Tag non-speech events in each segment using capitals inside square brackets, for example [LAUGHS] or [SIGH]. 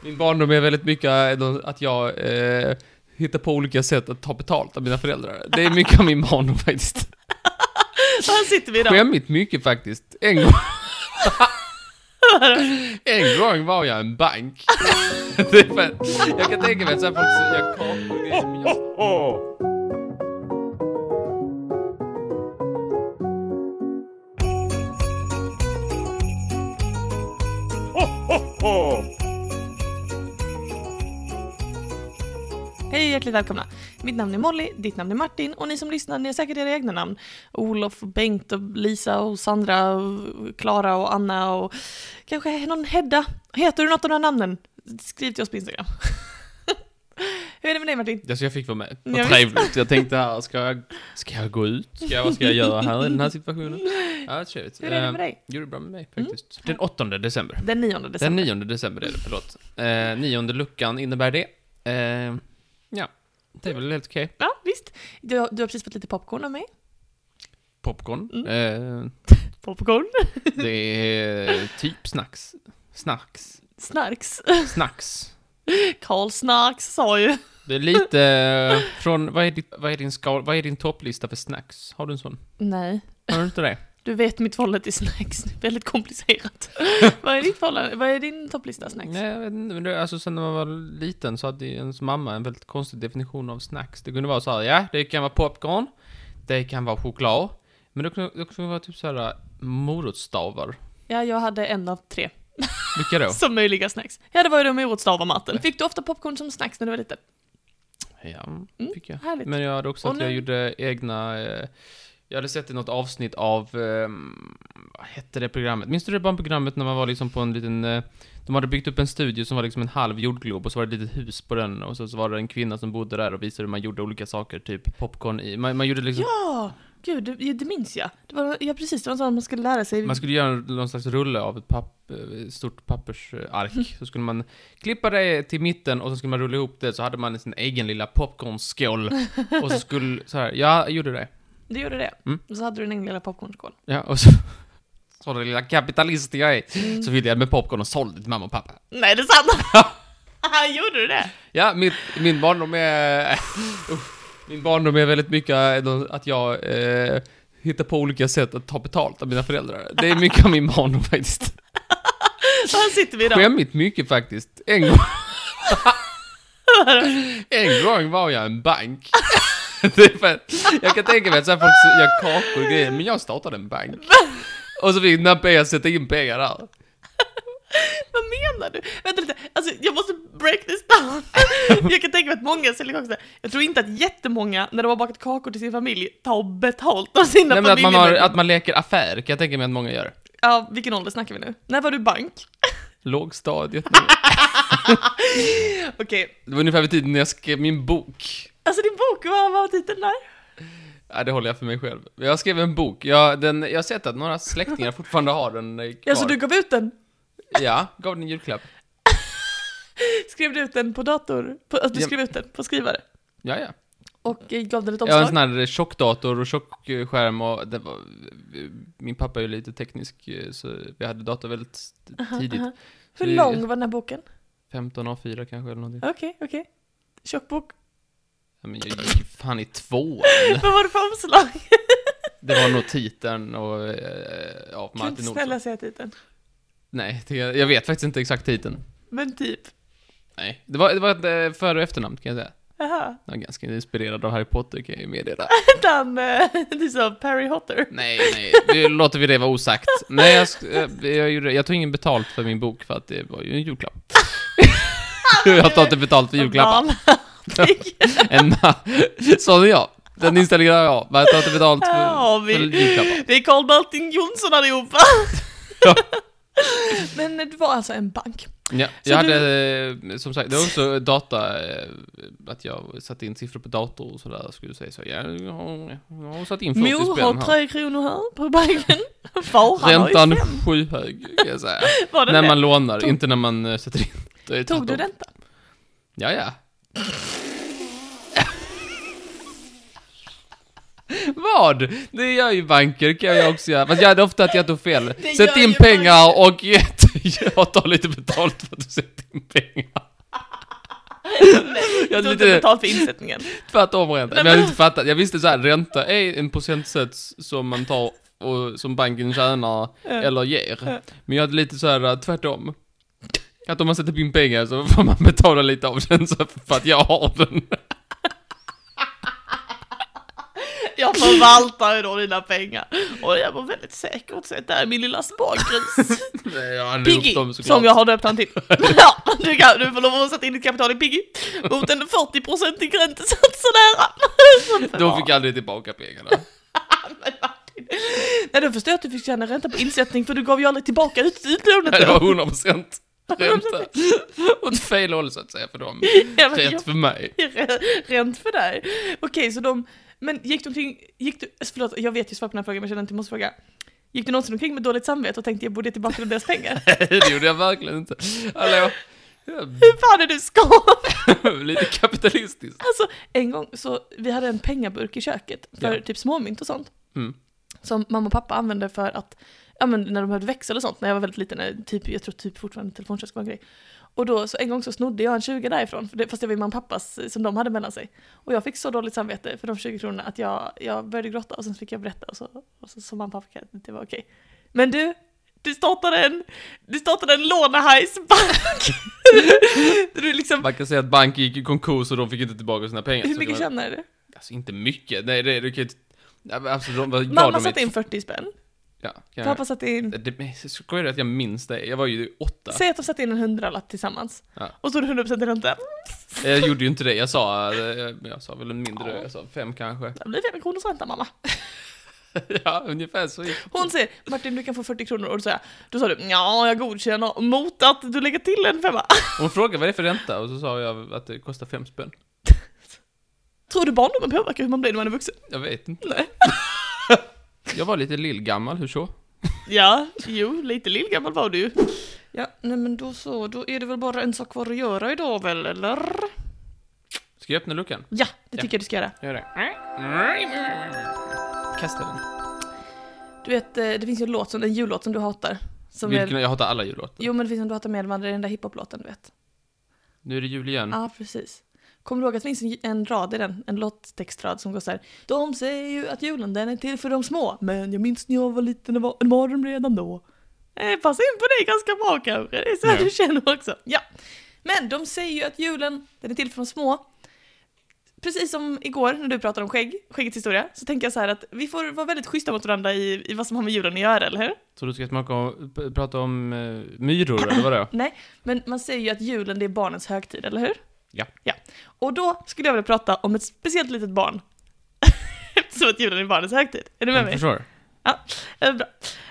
Min barndom är väldigt mycket eh, att jag eh, hittar på olika sätt att ta betalt av mina föräldrar. Det är mycket av min barndom faktiskt. Här sitter vi idag. Skämmigt mycket faktiskt. En [LAUGHS] gång... en gång var jag en bank. [LAUGHS] det är fan... Jag kan tänka mig att så här folk som jag kartor, det är som jag... Hej och hjärtligt välkomna. Mitt namn är Molly, ditt namn är Martin och ni som lyssnar ni har säkert era egna namn. Olof, och Bengt och Lisa och Sandra och Klara och Anna och kanske någon Hedda. Heter du något av de här namnen? Skriv till oss på Instagram. [LAUGHS] Hur är det med dig Martin? Alltså jag fick vara med. Ja, Vad visst. trevligt. Jag tänkte här, ska jag, ska jag gå ut? Ska jag, vad ska jag göra här i den här situationen? Ja, trevligt. Hur är det med dig? Jo, det är bra med mig faktiskt. Den 8 december. Den 9 december. Den 9 december är det, förlåt. Eh, nionde luckan innebär det. Eh, ja, det är väl helt okej. Ja, visst. Du, har- du har precis fått lite popcorn av mig. Popcorn. Mm. Eh, Popcorn? det är [LAUGHS] typ snacks. Snacks. Snarks. Snacks. Karl Snarks sa ju. Det är lite eh, från, vad är, ditt, vad är din skal, vad är din topplista för snacks? Har du en sån? Nej. Har du inte det? Du vet mitt förhållande till snacks, det är väldigt komplicerat. [LAUGHS] vad, är ditt förhållande, vad är din topplista [LAUGHS] snacks? Nej, jag vet inte. Men det, alltså sen när man var liten så hade ju ens mamma en väldigt konstig definition av snacks. Det kunde vara så här, ja, det kan vara popcorn, det kan vara choklad, men det kunde det kunde också vara typ så här morotsstavar. Ja, jag hade en av tre Vilka då? som möjliga snacks. Ja, det var ju de morotstavar maten. Fick du ofta popcorn som snacks när du var liten? Ja, Mm, fick jag. härligt. Men jag hade också Och att jag nu- gjorde egna... Eh, jag hade sett i något avsnitt av... Eh, vad hette det programmet? Minns du det barnprogrammet när man var liksom på en liten... Eh, de hade byggt upp en studio som var liksom en halv jordglob och så var det ett litet hus på den och så, så var det en kvinna som bodde där och visade hur man gjorde olika saker, typ popcorn i... Man, man gjorde liksom... Ja! Gud, det, det minns jag. Det var, ja, precis. Det var en sån man skulle lära sig. Man skulle göra någon slags rulle av ett papp, eh, stort pappersark. Så skulle man klippa det till mitten och så skulle man rulla ihop det så hade man sin egen lilla [LAUGHS] popcornskål. Och så skulle... Så här, ja, jag gjorde det. Du gjorde det. Mm. Och så hade du din egen lilla popcornskål. Ja, och så... [LAUGHS] Mm. Så den lilla kapitalisten jag är, så fyllde jag med popcorn och sålde till mamma och pappa. Nej, det är sant! [LAUGHS] [LAUGHS] Haha, gjorde du det? Ja, min, min barndom är... [LAUGHS] Uff, min barndom är väldigt mycket ändå att jag eh, hittar på olika sätt att ta betalt av mina föräldrar. Det är mycket av min barndom faktiskt. Så här sitter vi idag. Skämmigt mycket faktiskt. En gång... en gång var jag en bank. [LAUGHS] det är fan, jag kan tänka mig att så här folk så- gör kakor och grejer, men jag startade en bank. Och så fick Nampea sätta in pengar där. Vad menar du? Vänta lite, alltså jag måste break this [LAUGHS] down. jag kan tänka mig att många säljer kakor så här. Jag tror inte att jättemånga, när de har bakat kakor till sin familj, tar betalt av sina Nej, men att, man har, familjemedlemmar. att man leker affär kan jag tänka mig att många gör. Ja, vilken ålder snackar vi nu? När var du bank? Lågstadiet. Okej, Det var ungefär vid tiden när jag skrev min bok. alltså din bok, vad var titeln där? Ja, det håller jag för mig själv. Jag skrev en bok. Jag, den, jag har sett att några släktingar fortfarande har den eh, kvar. Alltså du gav ut den? Ja, gav den i julklapp. Skrev du ut den på dator? På, alltså, du Ja. skrev ut den på skrivare? Ja, ja. Och eh, gav den ett Jag har en omslag? sån här tjockdator och tjock eh, skärm och det var, eh, min pappa är ju lite teknisk eh, så vi hade dator väldigt tidigt. aha. Så Hur det är lång var den här boken? 15 A4 kanske eller någonting. Okej, okej. Tjock bok. Ja, men jag gick ju fan i tvåan. [LAUGHS] Vad var det för omslag? Det var nog titeln och eh, ja, Kan du inte Martin snälla Olsson. säga titeln? Nej, det, jag vet faktiskt inte exakt titeln. Men typ. Nej, det var, det var ett eh, före och efternamn kan jag säga. Jaha. Jag är ganska inspirerad av Harry Potter kan jag ju meddela. Hette han, eh, [LAUGHS] du sa Perry Hotter? Nej, nej, nu låter vi det vara osagt. Nej, jag, sk- eh, jag, gjorde, jag tog ingen betalt för min bok för att det var ju en julklapp. [LAUGHS] jag tar inte betalt för julklappar. Barnartig. En ma- Sån är jag. Den inställningen har jag. Men jag tar inte betalt Här har för, vi. för julklappar. Det är Carl Martin Jonsson allihopa. [LAUGHS] Men eh, det var alltså en bank. Ja, Så jag du- hade, eh, som sagt, det var också data, eh, att jag satte in siffror på dator och sådär, skulle säga så. Ja, jag har- jag har satt in 40 Mor spänn har här. tre kronor här på banken. [LAUGHS] Far han har ju Räntan fem. skyhög, kan jag säga. Var det När det? man lånar, Tog- inte när man eh, sätter in. Det är Tog du tvärtom. ränta? Ja, ja. Vad? Det gör ju banker, kan jag också göra. Fast jag hade ofta att jag tog fel. Det Sätt gör in ju pengar och [LAUGHS] jag tar lite betalt för att du sätter in pengar. Nej, jag Jag tog inte lite- betalt för insättningen. Tvärtom ränta. Nej, Men jag hade men- inte fattat. Jag visste så här, ränta är en procentsats som man tar och som banken tjänar eller ger. Men jag hade lite så här eh, tvärtom. Att om man sätter in pengar så får man betala lite av den så för att jag har den. Jag förvaltar ju då dina pengar. Och jag var väldigt säker och sätt. Det här är min lilla spargris. Nej, Jag handlar Piggy, upp dem såklart. som jag har döpt [LAUGHS] han till. ja, du, kan, du får lov att sätta in ditt kapital i Piggy. Mot en 40-procentig räntesats sådär. [LAUGHS] Som Då förvar. fick jag aldrig tillbaka pengarna. [LAUGHS] Men Martin, Nej, då förstår jag att du fick tjäna ränta på insättning för du gav ju aldrig tillbaka ut utlånet Det var då. 100% ränta. Åt fel håll så att säga för dem. [LAUGHS] Ja, men jag- Rätt för mig. [LAUGHS] Rent för dig. Okej, så de... Men gick du omkring... Gick du, alltså, förlåt, jag vet ju svar på den här frågan men jag känner inte jag måste fråga. Gick du någonsin omkring med dåligt samvete och tänkte jag borde ge tillbaka [LAUGHS] deras pengar? Det gjorde jag verkligen inte. Hallå? Hur fan är du skapad? Lite kapitalistiskt. Alltså, en gång så... Vi hade en pengaburk i köket för Ja. typ småmynt och sånt. Mm. Som mamma och pappa använde för att... Ja men när de behövde växel och sånt, när jag var väldigt liten, när typ, jag tror typ fortfarande telefonköket var en grej. Och då, så en gång så snodde jag en 20 därifrån, för det, fast det var ju mamma och pappas eh, som de hade mellan sig. Och jag fick så dåligt samvete för de 20 kronorna att jag, jag började gråta och sen fick jag berätta och så, och så, så mamma och pappa, kan- det var okej. Men du, du startade en, du startade en lånehajsbank! [LAUGHS] du liksom, Man kan säga att banken gick i konkurs och de fick inte tillbaka sina pengar. hur Så mycket det var- tjänade du? Alltså inte mycket. Nej, det, du kan ju inte... Nej, men Alltså, de var glada Mamma de satte är- in 40 spänn, Ja, kan jag... pappa satte in Det- men jag Skojar du att jag minns det? Jag var ju åtta. Säg att de satte in en hundralapp tillsammans. Ja. Och så är det 100% i ränta. Jag gjorde ju inte det. Jag sa... eh, Jag, jag sa väl en mindre. Ja. Jag sa fem kanske. [LAUGHS] Det blir 5 kronors ränta mamma. Ja, ungefär så gick Hon säger Martin du kan få 40 kronor och då sa jag, då sa du ja jag godkänner mot att du lägger till en femma. [LAUGHS] Hon frågade vad det är för ränta och så sa jag att det kostar fem spänn. Tror du barndomen påverkar hur man blir när man är vuxen? Jag vet inte. Nej. [LAUGHS] Jag var lite lillgammal, hur så? Ja, jo lite lillgammal var du ju. Ja, nej men då så, då är det väl bara en sak kvar att göra idag väl eller? Ska jag öppna luckan? Ja, det Ja. tycker jag du ska göra. Gör det. Kasta den. Du vet, eh, det finns ju en låt, som, en jullåt som du hatar. Som är, Vilken, jag hatar alla jullåtar. jo men det finns en du hatar mer än de andra, den där hiphop-låten du vet. Nu är det jul igen. Ja, precis. Kommer du ihåg att det finns en, en rad i den, en låttextrad som går så här. De säger ju att julen den är till för de små, men jag minns när jag var liten, det var en mardröm redan då. Eh, passa in på dig ganska bra kanske, det är så här Ja. du känner också. Ja. Men de säger ju att julen, den är till för de små. Precis som igår när du pratade om skägg, skäggets historia, så tänkte jag så här att vi får vara väldigt schyssta mot varandra i, i vad som har med julen att göra, eller hur? Så du ska smaka och p- prata om eh, myror, eller [LAUGHS] vadå? Nej, men man säger ju att julen det är barnens högtid, eller hur? Ja. ja. Och då skulle jag vilja prata om ett speciellt litet barn. [LAUGHS] Eftersom att julen är barnens högtid. Är du med Jag mig? förstår. Eh, Bra.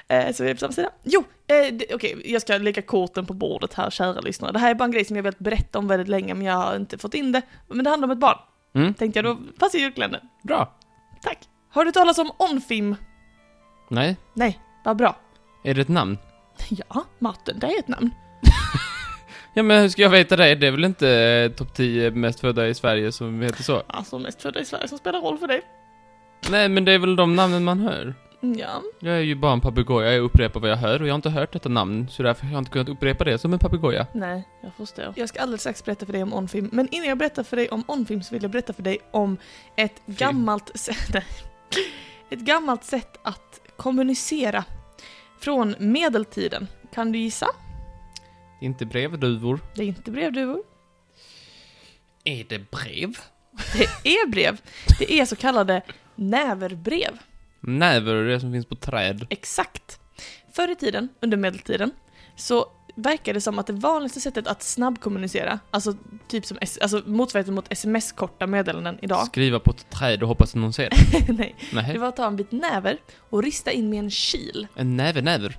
Eh, Så vi är på samma sida. Jo, eh, det- okej, jag ska lägga korten på bordet här, kära lyssnare. Det här är bara en grej som jag har velat berätta om väldigt länge, men jag har inte fått in det. Men det handlar om ett barn. Mm. Tänkte jag, då passar julkalendern. Bra. Tack. Har du talat om Onfim? Nej. Nej, vad bra. [LAUGHS] Är det ett namn? Ja, Martin, det är ett namn. Ja, men hur ska jag veta det? Det är väl inte eh, topp 10 mest födda i Sverige som heter så? Alltså mest födda i Sverige som spelar roll för dig. Mm, Nej, men det är väl de namnen man hör? Ja, Jag är ju bara en papegoja, jag upprepar vad jag hör och jag har inte hört detta namn, så därför har jag inte kunnat upprepa det som en papegoja. Nej, jag förstår. Jag ska alldeles strax berätta för dig om Onfilm, men innan jag berättar för dig om Onfilm så vill jag berätta för dig om ett gammalt sätt, [LAUGHS] nej, ett gammalt sätt att kommunicera från medeltiden. Kan du gissa? Inte brevduvor. Det är inte brevduvor. Är det brev? Det är brev. Det är så kallade näverbrev. Näver är det som finns på träd. Exakt. Förr i tiden, under medeltiden, så verkar det som att det vanligaste sättet att snabbkommunicera, alltså typ som, S- alltså motsvarigheten mot sms-korta meddelanden idag. Skriva på ett träd och hoppas att någon ser det. [LAUGHS] Nej, Det Nej, var att ta en bit näver och rista in med en kil. en näver näver.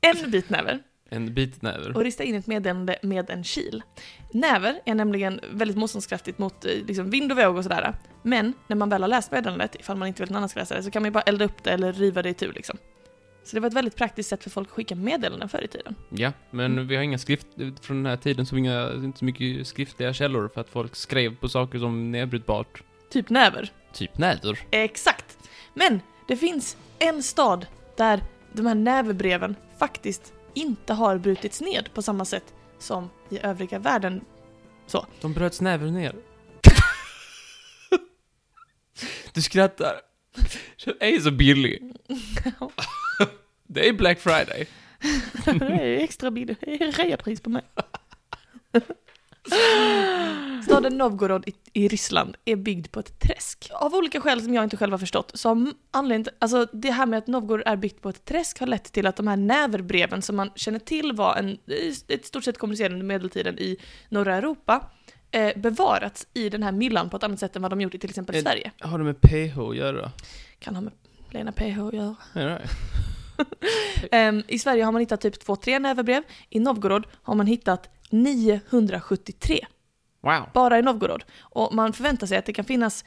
En bit näver En bit näver. och rista in ett meddelande med en kil. Näver är nämligen väldigt motståndskraftigt mot eh, liksom, vind och våg och sådär. Men när man väl har läst meddelandet, ifall man inte vill att någon annan ska läsa det, så kan man ju bara elda upp det eller riva det i tur liksom. Så det var ett väldigt praktiskt sätt för folk att skicka meddelanden förr i tiden. Ja, men Mm. vi har inga skrift från den här tiden, så inga, inte så mycket skriftliga källor för att folk skrev på saker som nedbrytbart. Typ näver. Typ näder. Exakt. Men det finns en stad där de här näverbreven faktiskt inte har brutits ned på samma sätt som i övriga världen. [LAUGHS] De bröts näven ner. Du skrattar. Det är så billig. Det är Black Friday. [LAUGHS] det är extra [LAUGHS] billigt, det är reapris på mig. [LAUGHS] Staden Novgorod i, i Ryssland är byggd på ett träsk. Av olika skäl som jag inte själv har förstått, så har anledningen till, alltså det här med att Novgorod är byggt på ett träsk har lett till att de här näverbreven som man känner till var en, i ett stort sett kommunicerande under medeltiden i norra Europa, eh, bevarats i den här myllan på ett annat sätt än vad de gjort i till exempel Eh, Sverige. Har det med PH att göra? Kan ha med Lena PH att göra. Är det det? Ehm, I Sverige har man hittat typ 2-3 näverbrev, i Novgorod har man hittat 973. Wow. bara i Novgorod. Och man förväntar sig att det kan finnas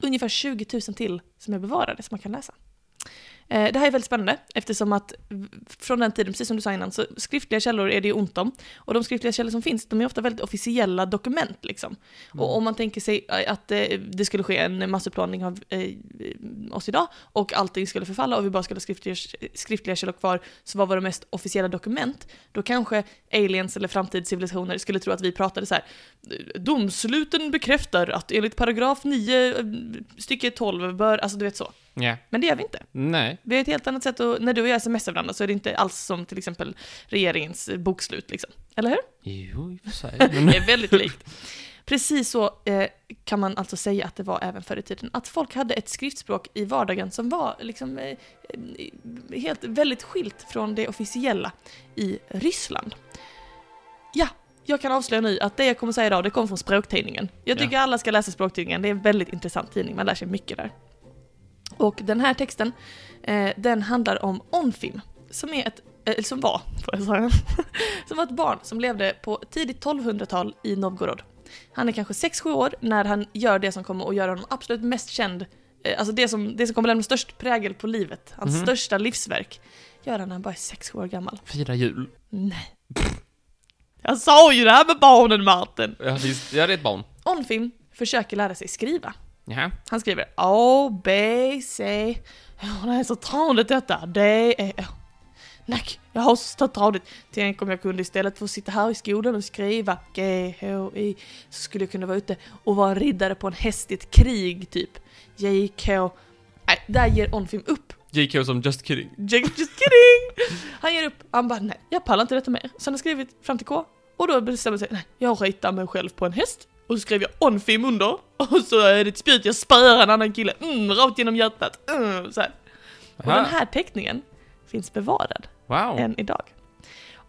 ungefär 20 000 till som är bevarade som man kan läsa. Eh, Det här är väldigt spännande eftersom att v- från den tiden, precis som du sa innan, så skriftliga källor är det ju ont om. Och de skriftliga källor som finns, de är ofta väldigt officiella dokument liksom. Mm. Och om man tänker sig eh, att eh, det skulle ske en massutplåning av eh, oss idag och allting skulle förfalla och vi bara skulle ha skriftliga, skriftliga källor kvar, så vad var det mest officiella dokument? Då kanske aliens eller framtidscivilisationer skulle tro att vi pratade så här eh, domsluten bekräftar att enligt paragraf 9 eh, stycke 12 bör, alltså du vet så. Mm, Ja. Men det gör vi inte. Nej. Vi har ett helt annat sätt att, när du och jag smsar varandra så är det inte alls som till exempel regeringens eh, bokslut liksom. Eller hur? Jo, i och för sig. Det är väldigt likt. Precis så eh, kan man alltså säga att det var även förr i tiden. Att folk hade ett skriftspråk i vardagen som var liksom eh, eh, helt väldigt skilt från det officiella i Ryssland. Ja, jag kan avslöja nu att det jag kommer säga idag, det kommer från språktidningen. Jag Ja. tycker alla ska läsa språktidningen, det är en väldigt intressant tidning, man lär sig mycket där. Och den här texten, eh, den handlar om Onfim, som är ett, eh, eller som var, [LAUGHS] får jag säga, som var ett barn som levde på tidigt 1200-tal i Novgorod. Han är kanske 6-7 år när han gör det som kommer att göra honom absolut mest känd, eh, alltså det som, det som kommer lämna störst prägel på livet, hans Mhm. största livsverk, gör han när han bara är 6-7 år gammal. [LAUGHS] Fira jul. Nej. [LAUGHS] Jag sa ju det här med barnen Martin! Ja, visst. Ja, det är ett barn. Onfim försöker lära sig skriva. Ja. Han skriver A, B, C. Ja, det är så tradigt detta. D, E, Å. Nej, jag har så tradigt. Tänk om jag kunde istället för att sitta här i skolan och skriva G, H, I så skulle jag kunna vara ute och vara riddare på en häst i ett krig, typ. J, K. Nej, där ger Onfim upp. JK som Just Kidding. Just just kidding! Han ger upp. Han bara, nej, jag pallar inte detta mer. Så han har skrivit fram till K. Och då bestämmer sig, nej, jag ritar mig själv på en häst. Och så skriver jag Onfim under. Och så är det ett spjut, jag spöar en annan kille. Mm, rakt genom hjärtat. Mm, så här. Och den här teckningen finns bevarad Wow. än idag.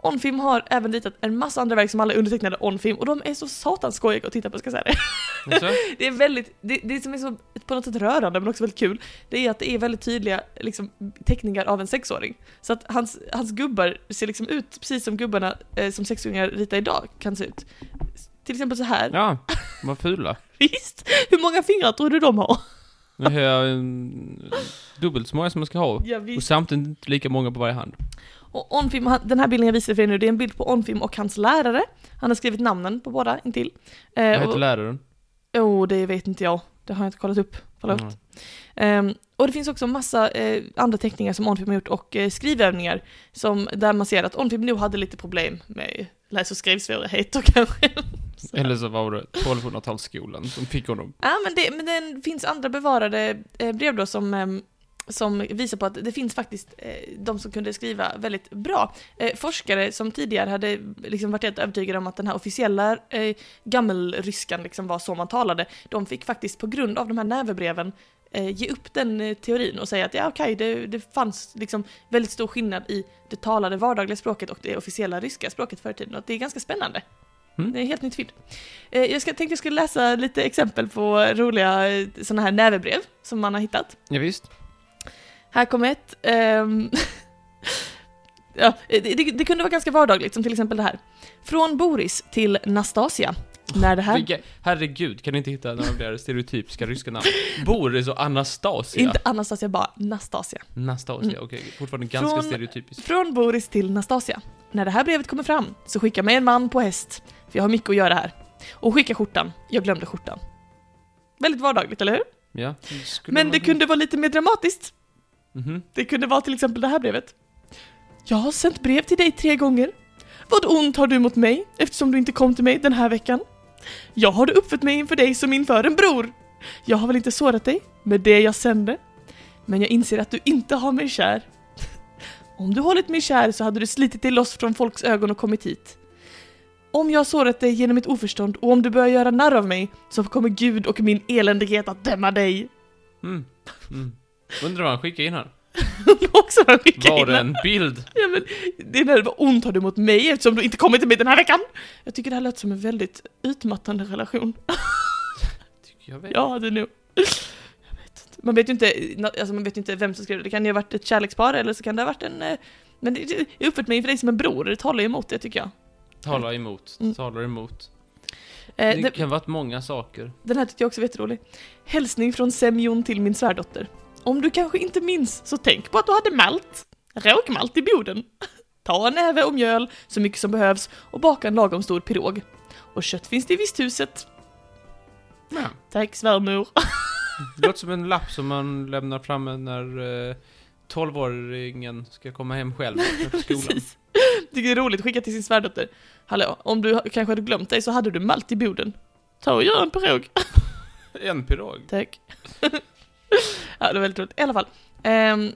Onfim har även ritat en massa andra verk som alla är undertecknade Onfim och de är så satans skojiga att titta på ska jag säga det. Jaså? Det är väldigt, det, det som är så på något sätt rörande men också väldigt kul, det är att det är väldigt tydliga liksom, teckningar av en sexåring. Så att hans, hans gubbar ser liksom ut precis som gubbarna eh, som sexåringar ritar idag kan se ut. Till exempel så här. Ja, vad fula. Visst! Hur många fingrar tror du de har? Nu har jag mm, dubbelt så många som man ska ha. Ja, Och visst. samtidigt inte lika många på varje hand. Eh, Och Onfim, han- den här bilden jag visar för er nu, det är en bild på Onfim och hans lärare. Han har skrivit namnen på båda intill. Eh, Vad och- heter läraren? Jo, det vet inte jag. Det har jag inte kollat upp. Förlåt. Mm. Ehm, och det finns också massa eh, andra teckningar som Onfim har gjort och eh, skrivövningar som, där man ser att Onfim nog hade lite problem med läs och skrivsvårigheter [LAUGHS] kanske. Så. Eller så var det 1200-talsskolan som fick honom. Ja, men det, men det finns andra bevarade eh, brev då som, ehm, som visar på att det finns faktiskt eh, de som kunde skriva väldigt bra. Eh, forskare som tidigare hade liksom varit helt övertygade om att den här officiella eh, gammelryskan liksom var så man talade, de fick faktiskt på grund av de här näverbreven eh, ge upp den eh, teorin och säga att ja okej, det, det fanns liksom väldigt stor skillnad i det talade vardagliga språket och det officiella ryska språket förr i tiden och att det är ganska spännande. Mm. Det är helt nytt fynd. Eh, Jag ska, tänkte jag skulle läsa lite exempel på roliga eh, såna här nävebrev som man har hittat. Ja, visst. Här kommer ett. ehm, [LAUGHS] ja, eh, det, det, det kunde vara ganska vardagligt, som till exempel det här. Från Boris till Nastasia. När det här... Vilka, herregud, kan ni inte hitta några fler stereotypiska ryska namn? Boris och Anastasia. Inte Anastasia, bara Nastasia. Anastasia, Mm. okej. Fortfarande ganska Från- stereotypiskt. Från Boris till Nastasia. När det här brevet kommer fram så skicka mig en man på häst, för jag har mycket att göra här. Och skicka skjortan. Jag glömde skjortan. Väldigt vardagligt, eller hur? Ja. skulle Men man det kunna- kunde vara lite mer dramatiskt. Mhm. Det kunde vara till exempel det här brevet. Jag har sänt brev till dig tre gånger. Vad ont har du mot mig eftersom du inte kom till mig den här veckan? Jag har uppfört mig inför dig som inför en bror. Jag har väl inte sårat dig med det jag sände? Men jag inser att du inte har mig kär. Om du hållit mig kär så hade du slitit dig loss från folks ögon och kommit hit. Om jag har sårat dig genom mitt oförstånd och om du börjar göra narr av mig så kommer Gud och min eländighet att döma dig. [LAUGHS] Mm. Mm. Undrar vad han skickade in här. också har skickat Var in det den. en bild? Ja, men det är när det var ont har du mot mig eftersom du inte kommit till mig den här veckan. Jag tycker det här lät som en väldigt utmattande relation. Tycker jag väl. Jag hade nog... Jag vet inte. Man vet ju inte, alltså man vet ju inte vem som skrev det. Det kan ju ha varit ett kärlekspar eller så kan det ha varit en... eh, Men det, det- jag har uppfört mig inför dig som en bror, det talar ju emot det tycker jag. Talar emot. Mm. Talar emot. Eh, Det den, kan varit många saker. den här tyckte jag också var jätterolig. Hälsning från Semjon till min svärdotter. Om du kanske inte minns, så tänk på att du hade malt. Råkmalt i boden. [LAUGHS] Ta en näve och mjöl, så mycket som behövs, och baka en lagom stor pirog. Och kött finns det i visthuset. Ja. Tack svärmor. [LAUGHS] Det låter som en lapp som man lämnar framme när eh, 12-åringen ska komma hem själv [LAUGHS] från skolan. Precis. Tycker det är roligt, skicka till sin svärdotter. Hallå, om du kanske hade glömt dig så hade du malt i boden. Ta och gör en pirog. En pirog. Tack. [LAUGHS] ja, det var väldigt roligt. I alla fall. ehm,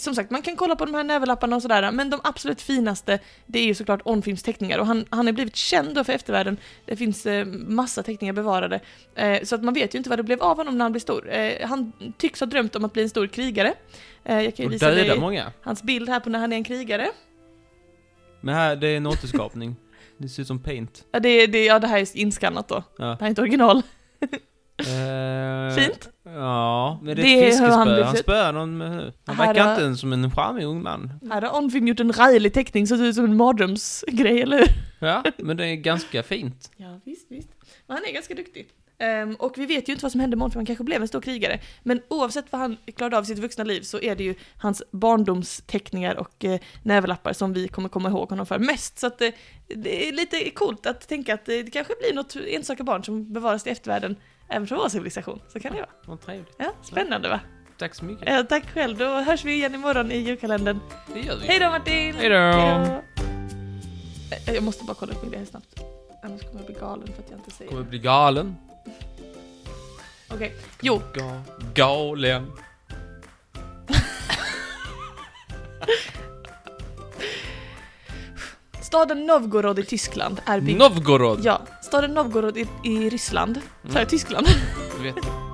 som sagt, man kan kolla på de här näverlapparna och sådär, men de absolut finaste, det är ju såklart Onfilms-teckningar. Och han, han är blivit känd då för eftervärlden. Det finns eh, massa teckningar bevarade. Eh, så att man vet ju inte vad det blev av honom när han blev stor. Eh, han tycks ha drömt om att bli en stor krigare. Eh, jag kan ju Och visa döda dig många. hans bild här på när han är en krigare. Men här, det är en återskapning. Det ser ut som paint. Ja, det, det, ja, det här är inskannat då. [LAUGHS] Ja. Det här är inte original. Eh, Fint. Ja, men det Det är är ett hur han fiskespö. blir Han sett. spöar någon med nu. Han Här verkar har- inte ens som en charmig ung man. Här har Onfilm gjort en rajlig teckning så det ser ut som en mardrömsgrej, eller hur? Ja, [LAUGHS] men det är ganska fint. Ja, visst, visst. Men han är ganska duktig. Ehm, och vi vet ju inte vad som hände med honom, för han kanske blev en stor krigare. Men oavsett vad han klarade av i sitt vuxna liv så är det ju hans barndomsteckningar och eh, näverlappar som vi kommer komma ihåg honom för mest. Så att eh, det är lite coolt att tänka att eh, det kanske blir något enstaka barn som bevaras i eftervärlden även från vår civilisation. Så kan det vara. Vad trevligt. Ja, spännande va? Tack så mycket. Eh, tack själv, då hörs vi igen imorgon i julkalendern. Det gör vi. Hej då Martin! Hej då. Eh, Jag måste bara kolla upp min grej snabbt. Annars kommer jag bli galen för att jag inte säger Kommer bli galen. Okej, jo. Ga galen. Staden Novgorod i Tyskland är byggd... Novgorod. ja, staden Novgorod i, i Ryssland. Sa jag Tyskland? Du vet.